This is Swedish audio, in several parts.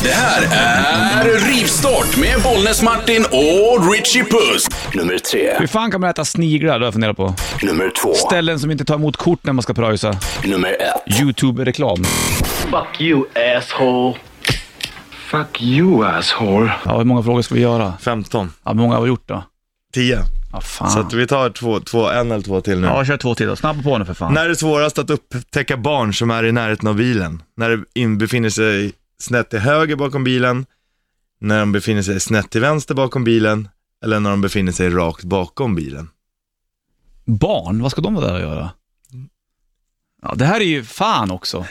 Det här är Rivstart med Bollnäs-Martin och Richie Puss. Nummer tre. Hur fan kan man äta sniglar? Det har jag funderat på. Nummer två. Ställen som inte tar emot kort när man ska pröjsa. Nummer ett. Youtube-reklam. Fuck you, asshole. Fuck you, asshole. Ja, hur många frågor ska vi göra? 15. Ja, hur många har vi gjort då? 10. Ja, fan. Så att vi tar två, två, en eller två till nu. Ah. Ja, kör två till då. Snabba på nu för fan. När är det svårast att upptäcka barn som är i närheten av bilen? När de in- befinner sig snett till höger bakom bilen, när de befinner sig snett till vänster bakom bilen, eller när de befinner sig rakt bakom bilen? Barn, vad ska de vara där och göra? Ja, det här är ju fan också.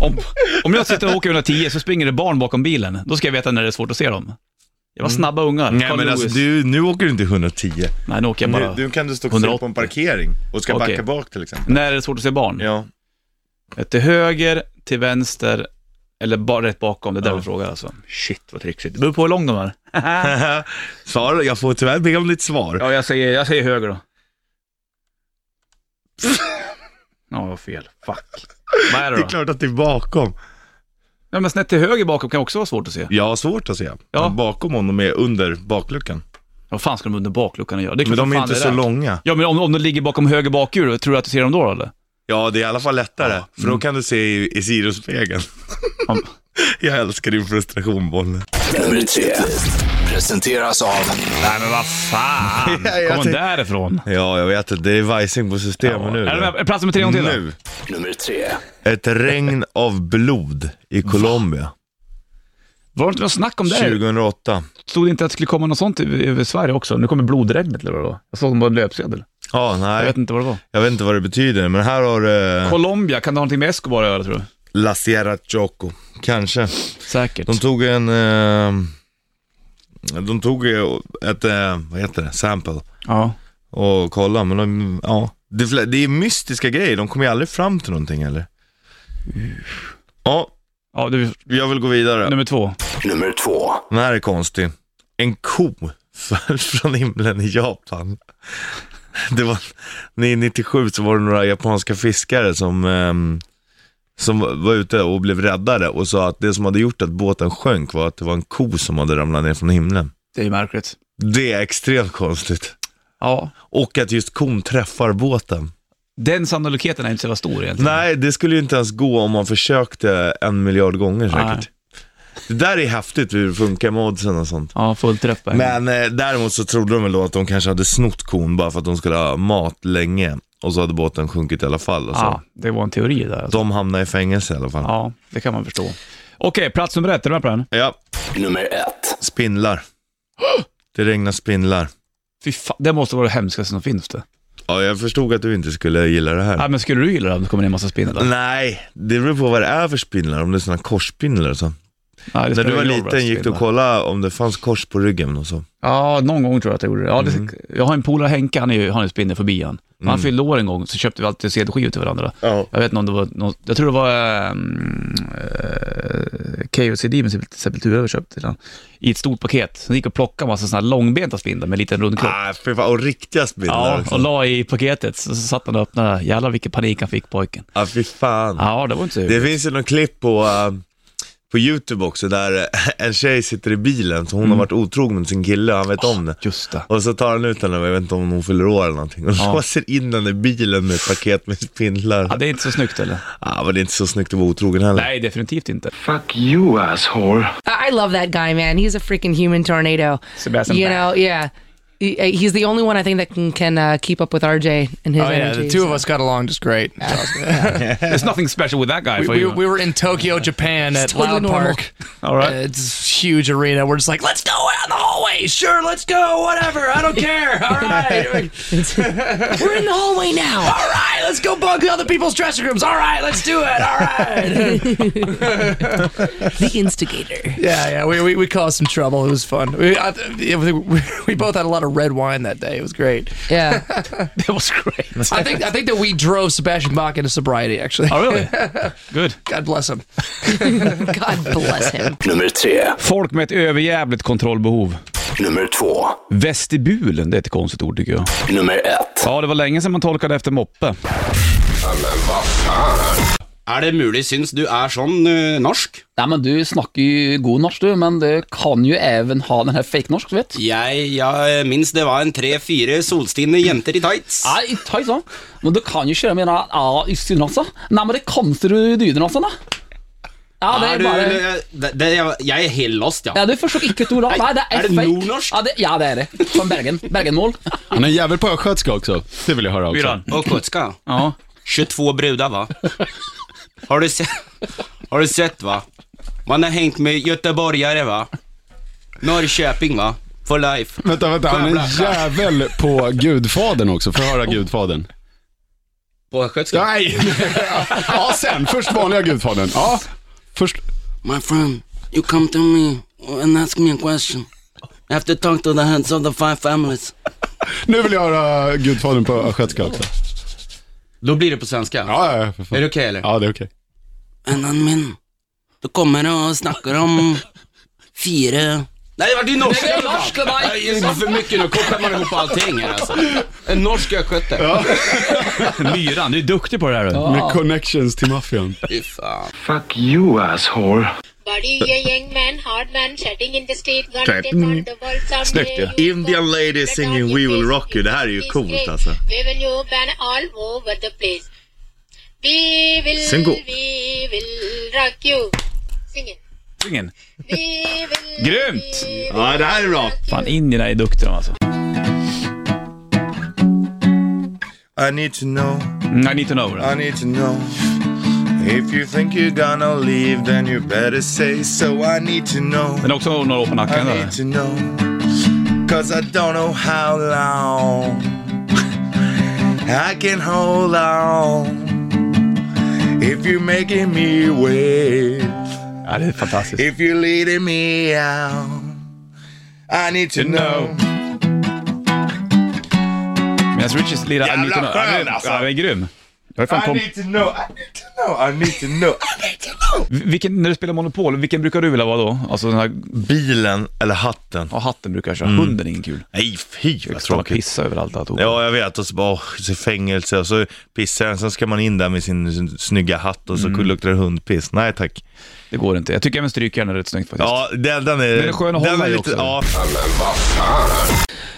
Om, om jag sitter och åker 110 så springer det barn bakom bilen. Då ska jag veta när det är svårt att se dem. Jag var snabba ungar. Nej Carl men alltså Lewis. du, nu åker du inte 110. Nej, nu åker jag Nu, bara. nu kan du stå kvar på en 180. parkering och ska Okej. backa bak till exempel. När är det svårt att se barn? Ja. Till höger, till vänster eller bara rätt bakom. Det är där Ja. du frågar alltså. Shit vad trixigt. Det beror på hur lång de är. Svar, jag får tyvärr be om ditt svar. Ja, jag säger, jag säger höger då. Ja, jag har fel. Fuck. Vad är det Det är då? klart att det är bakom. Ja, men snett till höger bakom kan också vara svårt att se. Jag har svårt att se. Ja. Men Bakom honom är under bakluckan. Vad fan ska de under bakluckan göra? Det är Men klart de är fan inte det så där. långa. Ja, men om, om de ligger bakom höger bakhjul, tror du att du ser dem då eller? Ja, det är i alla fall lättare. För då kan du se i, i sidospegeln. Ja. jag älskar din frustration, Bolle. Nummer tre. Presenteras av Nej, men vad fan! Ja, jag Kommer tänkte- därifrån? Ja, jag vet att det är vajsing på systemet nu. Är det med- plats nummer tre gånger till då? nu. nummer tre. Ett regn av blod i Colombia. Var det inte något snack om det? 2008. Stod det inte att det skulle komma något sånt över över Sverige också? Nu kommer blodregnet eller vad det var. Jag såg dem på en löpsedel. Ja, Jag nej. vet inte vad det var. Jag vet inte vad det betyder, men här har du eh, Colombia, kan det ha någonting med Escobar att göra tror du? La Sierra Choco. Kanske. Säkert. De tog en... Eh, de tog eh, ett, eh, vad heter det, sample Ja. och kollade, men de, ja. Det, är fl- det är mystiska grejer, de kommer ju aldrig fram till någonting eller? Ja, Ja, det är jag vill gå vidare. nummer två. Nummer två. Den här är konstig. En ko föll från himlen i Japan. Det var, nej, 97 så var det några japanska fiskare som, ehm, som var ute och blev räddade och sa att det som hade gjort att båten sjönk var att det var en ko som hade ramlat ner från himlen. Det är ju märkligt. Det är extremt konstigt. Ja. Och att just kon träffar båten. Den sannolikheten är inte så jävla stor egentligen. Nej, det skulle ju inte ens gå om man försökte en miljard gånger säkert. Det där är häftigt hur det funkar med oddsen och sånt. Ja, fullträff på Men eh, däremot så trodde de väl då att de kanske hade snott kon bara för att de skulle ha mat länge. Och så hade båten sjunkit i alla fall. Och så. Ja, det var en teori där. Alltså. De hamnade i fängelse i alla fall. Ja, det kan man förstå. Okej, plats nummer ett. Är du med på den? Ja, Nummer ett. spindlar. Det regnar spindlar. Fy fan, det måste vara det hemskaste som finns det. Ja, jag förstod att du inte skulle gilla det här. Nej, men skulle du gilla det om det kommer ner en massa spindlar? Mm. Nej, det beror på vad det är för spindlar. Om det är sådana korsspindlar och så. Nej, det När spelar du var ingen roll vad det liten gick du spindlar. och kollade om det fanns kors på ryggen och så. Ja, någon gång tror jag att jag gjorde det. Ja, det Jag har en polare, Henke, han är ju, han är ju spindelfobi han. När Han fyllde år en gång så köpte vi alltid CD-skivor till varandra. Ja. Jag vet inte om det var någon, jag tror det var um, uh, KOCD med Sepul- Sepultura vi köpte till han. I ett stort paket. Sen gick jag och plockade en massa sådana här långbenta spindlar med en liten rund kropp. Ah, liksom. fy fan, och riktiga spindlar Ja, och också. la i paketet. Så, så satt han och öppnade. Jävlar vilken panik han fick pojken. Ah, fy fan. Ja, det var inte så Det finns ju någon klipp på, eh, på YouTube också där eh, en tjej sitter i bilen, så hon har varit otrogen med sin kille och han vet om det. Mm. Ah, Just det. Och så tar han ut henne, jag vet inte om hon fyller år eller någonting, och Ja. låser in henne i bilen med ett paket med spindlar. Ja, det är inte så snyggt eller? ah, men det är inte så snyggt att vara otrogen heller. Nej, definitivt inte. Fuck you, asshole. I I love that guy, man. He's a freaking human tornado. Sebastian you Bach. know, yeah. He- uh, He's the only one I think that can can uh, keep up with RJ and his Oh yeah, energy. the two of us got along just great. There's nothing special with that guy. we, for we, you. we were in Tokyo, Japan at totally Loud normal. Park. All right. Uh, It's a huge arena. We're just like, let's go out in the hallway. Sure, let's go. Whatever. I don't care. All right. We're in the hallway now. All right. Let's go bug other people's dressing rooms. All right. Let's do it. All right. the instigator. yeah, yeah. We, we, we caused some trouble. It was fun. We, I, yeah, we, we both had a lot of red wine that day. It was great. Yeah. That was great. I think I think that we drove Sebastian Bach into sobriety, actually. Oh, really? Good. God bless him. God bless him. Nummer tre. Folk med ett överjävligt kontrollbehov. Nummer två. Vestibulen, det är ett konstigt ord tycker jag. Nummer ett. Ja, det var länge sedan man tolkade efter moppe. Er det mulig syns du er sånn eh, norsk? Nei, men Du snakker jo god norsk, du, men du kan jo even ha den her fake-norsk, du vet. Jeg, jeg minst det var en tre-fire solstinne jenter i tights. Nei, ta i sånn. Men du kan jo kjøre med den A i Sydnlandet. Nei, men det kan du Dydelandet, da. Ja, det Er er du, bare... det, det, jeg er helt lost, ja. Ja, du forstår ikke et ord av. Nei, det er, Er det fake. nordnorsk? Ja det, ja, det er det. Från Bergen. Bergenmål. Han är en jävel på östgötska också. Det vill jag höra också. Myran. Mm. Och skotska. Ja. 22 brudar va? Har du sett? Har du sett va? Man har hängt med göteborgare va? Norrköping va? For life. Vänta, vänta. Han är en jävel på Gudfadern också. Får jag höra Gudfadern? På östgötska? Nej! Ja, sen. Först vanliga Gudfadern. Ja, först. My friend, you come to me and ask me a question. I have to talk to the heads of the five families. Nu vill jag höra Gudfadern på östgötska också. Då blir det på svenska. Ja, ja, ja, för fan. Är det okej eller? Ja, det är okej. Vennen min, du kommer og snakker om fire Nei, det var din norske! Det er norsk, det er deg. Det er For mye nå kobler man ihop allting her, altså. En norsk østgøte. Ja. Myran, du är duktig på det här. du. Med connections till maffian. Fy faen. Fuck you, asshole. Body a young man, hard man, shutting in the street, got Okej. death on the wall someday Snyggt ju. you Indian go. lady The singing dog We is Will busy, Rock You. Det här är ju is coolt, great. alltså. We will you ban all over the place. We will, Sing god. we will rock you. Sing it. Ingen. We will, Grymt! we will Ja, det här är bra. rock you. Fan, indierna är duktiga de, alltså. I need to know, Mm, I need to know. det. I need to know. If you think you're gonna leave then you better say so. I need to know. Den är också några år på nacken. I eller? need to know Cause I don't know how long I can hold on If you're making me wait Ja, det är fantastiskt. If you're leading me out I need to know Medan Richies lirar I need to know. Jävla Ja, skön, men- alltså. Ja, den är grym. Jag är fan I kom... need to know I need to know I need to know I need to know vilken, när du spelar Monopol, vilken brukar du vilja vara då? Alltså den här Bilen eller hatten? ja, hatten brukar jag köra. Hunden är ingen kul. Nej fy Mm. Jag står och pissar överallt. Alltihop. Ja, jag vet. Och så bara, åh, så fängelse och så pissar den. Sen ska man in där med sin, sin snygga hatt och så luktar det hundpiss. Nej tack. Det går inte. Jag tycker även strykjärn är rätt snyggt faktiskt. Ja, den, den är... Den är skön att hålla i också.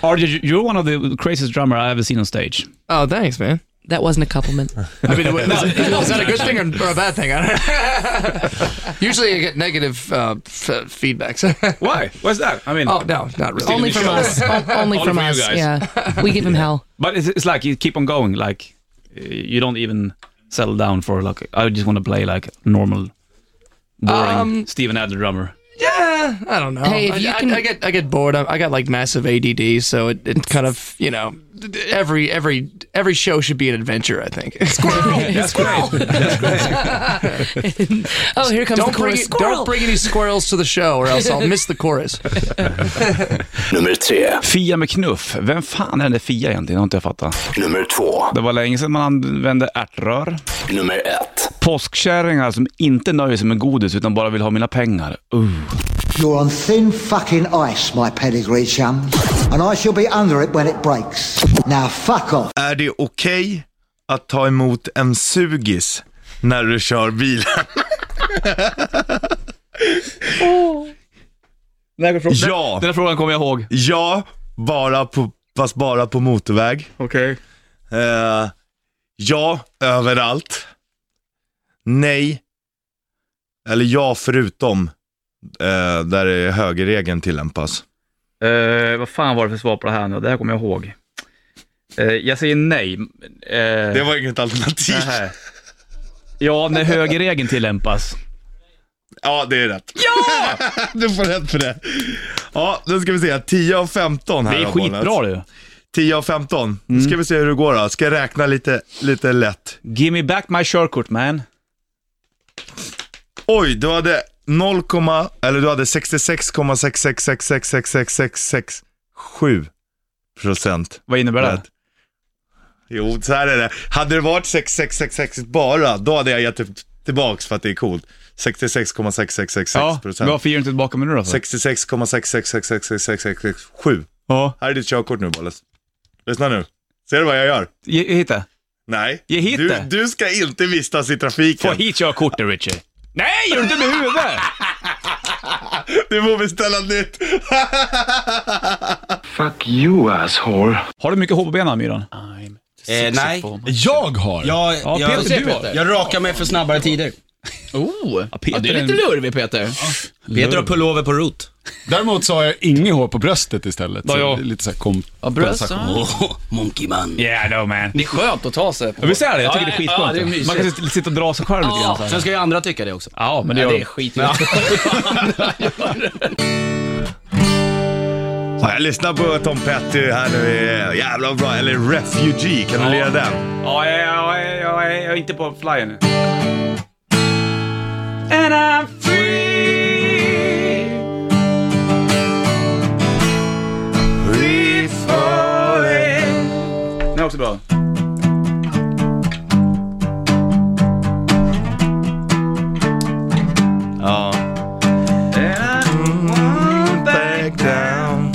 Ja, RJ, you're one of the craziest drummer I've ever seen on stage. Oh, thanks, man. That wasn't a compliment. I mean, was, was that a good thing or, or a bad thing? I don't know. Usually, I get negative uh, f- feedback. so- Why? What's that? I mean, oh no, not really. Only from us. O- Only from from you us. guys. Yeah. We give him hell. but it's, it's like you keep on going. Like eh, you don't even settle down for like I just want to play like normal, boring Um, Steven Adler drummer. Yeah, I don't know. Hey, if I, you I- can- I get I get bored. I, I got like massive ADD, so it, it kind of you know every every every show should be an adventure. I think. Oh, here comes don't the bring chorus. it- don't bring any squirrels to the show, or else I'll miss the chorus. Nummer tre. Fia med knuff. Vem fan är den där Fia egentligen? Det har inte jag fattat. Nummer två. Det var länge sedan man använde ärtrör. Nummer ett. Påskkärringar som inte nöjer sig med godis utan bara vill ha mina pengar. Uh. You're on thin fucking ice, my pedigree chum, and I shall be under it when it breaks. Now fuck off. är det okej att ta emot en sugis när du kör bilen? Oh. ja, Den här frågan kommer jag ihåg. ja, bara på, fast bara på motorväg. Okej. Eh, ja, överallt. Nej. Eller ja, förutom eh, där det är högerregeln tillämpas. Eh, vad fan var det för svar på det här nu? Det här kommer jag ihåg. Eh, jag säger nej. Eh, Det var inget alternativ. Nähä. Ja, när högerregeln tillämpas. Ja, det är rätt. Ja! du får rätt för det. Ja, nu ska vi se. 10 av 15 här Det är har alltså. skitbra bollats. du. 10 av 15. Nu ska vi se hur det går då. Ska jag räkna lite, lite lätt. Give me back my körkort man. Oj, du hade 0, eller du hade 66,6666666667 procent. Vad innebär det? Rätt. Jo, så här är det. Hade det varit 6666 bara, då hade jag gett det tillbaks för att det är coolt. 66,6666 Ja, men procent. varför ger du inte tillbaka mig nu då? för? 66,66666667. Ja. Här är ditt körkort nu, Bolles. Lyssna nu. Ser du vad jag gör? Ge- Hitta. Nej. Ge hit du, det. du ska inte vistas i trafiken. Få hit körkortet Richie. Nej, gör du inte med huvudet? Du får beställa nytt. Fuck you asshole. Har du mycket hår på benen, Myran? Eh, nej. Jag har! Jag, alltså. Ja, jag, Peter, du har. jag, rakar mig för snabbare tider. Oh, Peter ja, du är är en- lite lurvig Peter. Peter har pullover på rot. Däremot så har jag inget hår på bröstet istället. Så Ja, ja. det är Lite såhär komp... Ja, bröst, ja. Oh, monkey man. Yeah, no man. Det är skönt att ta sig på. Jag vill säga det, jag tycker Ja, det är skitskönt. Ja, det är mysigt. Man kan sit- sitta och dra sig själv lite grann. så här. Sen ska ju andra tycka det också. Ja, men det Ja, det är gör de. skit. Ja, Jag lyssnar på Tom Petty här nu. eh, Jävla bra. Eller Refugee, kan du lira den? Ja, jag, jag, jag, jag, jag är inte på flyer nu. And I'm free. Free falling. Den är också bra. Ja. Back down.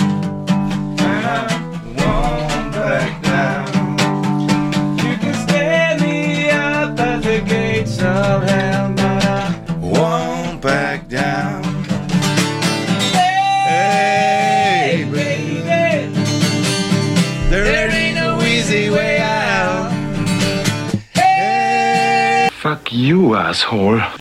Won't back down. Hey, baby. There ain't no easy way out. Fuck you asshole.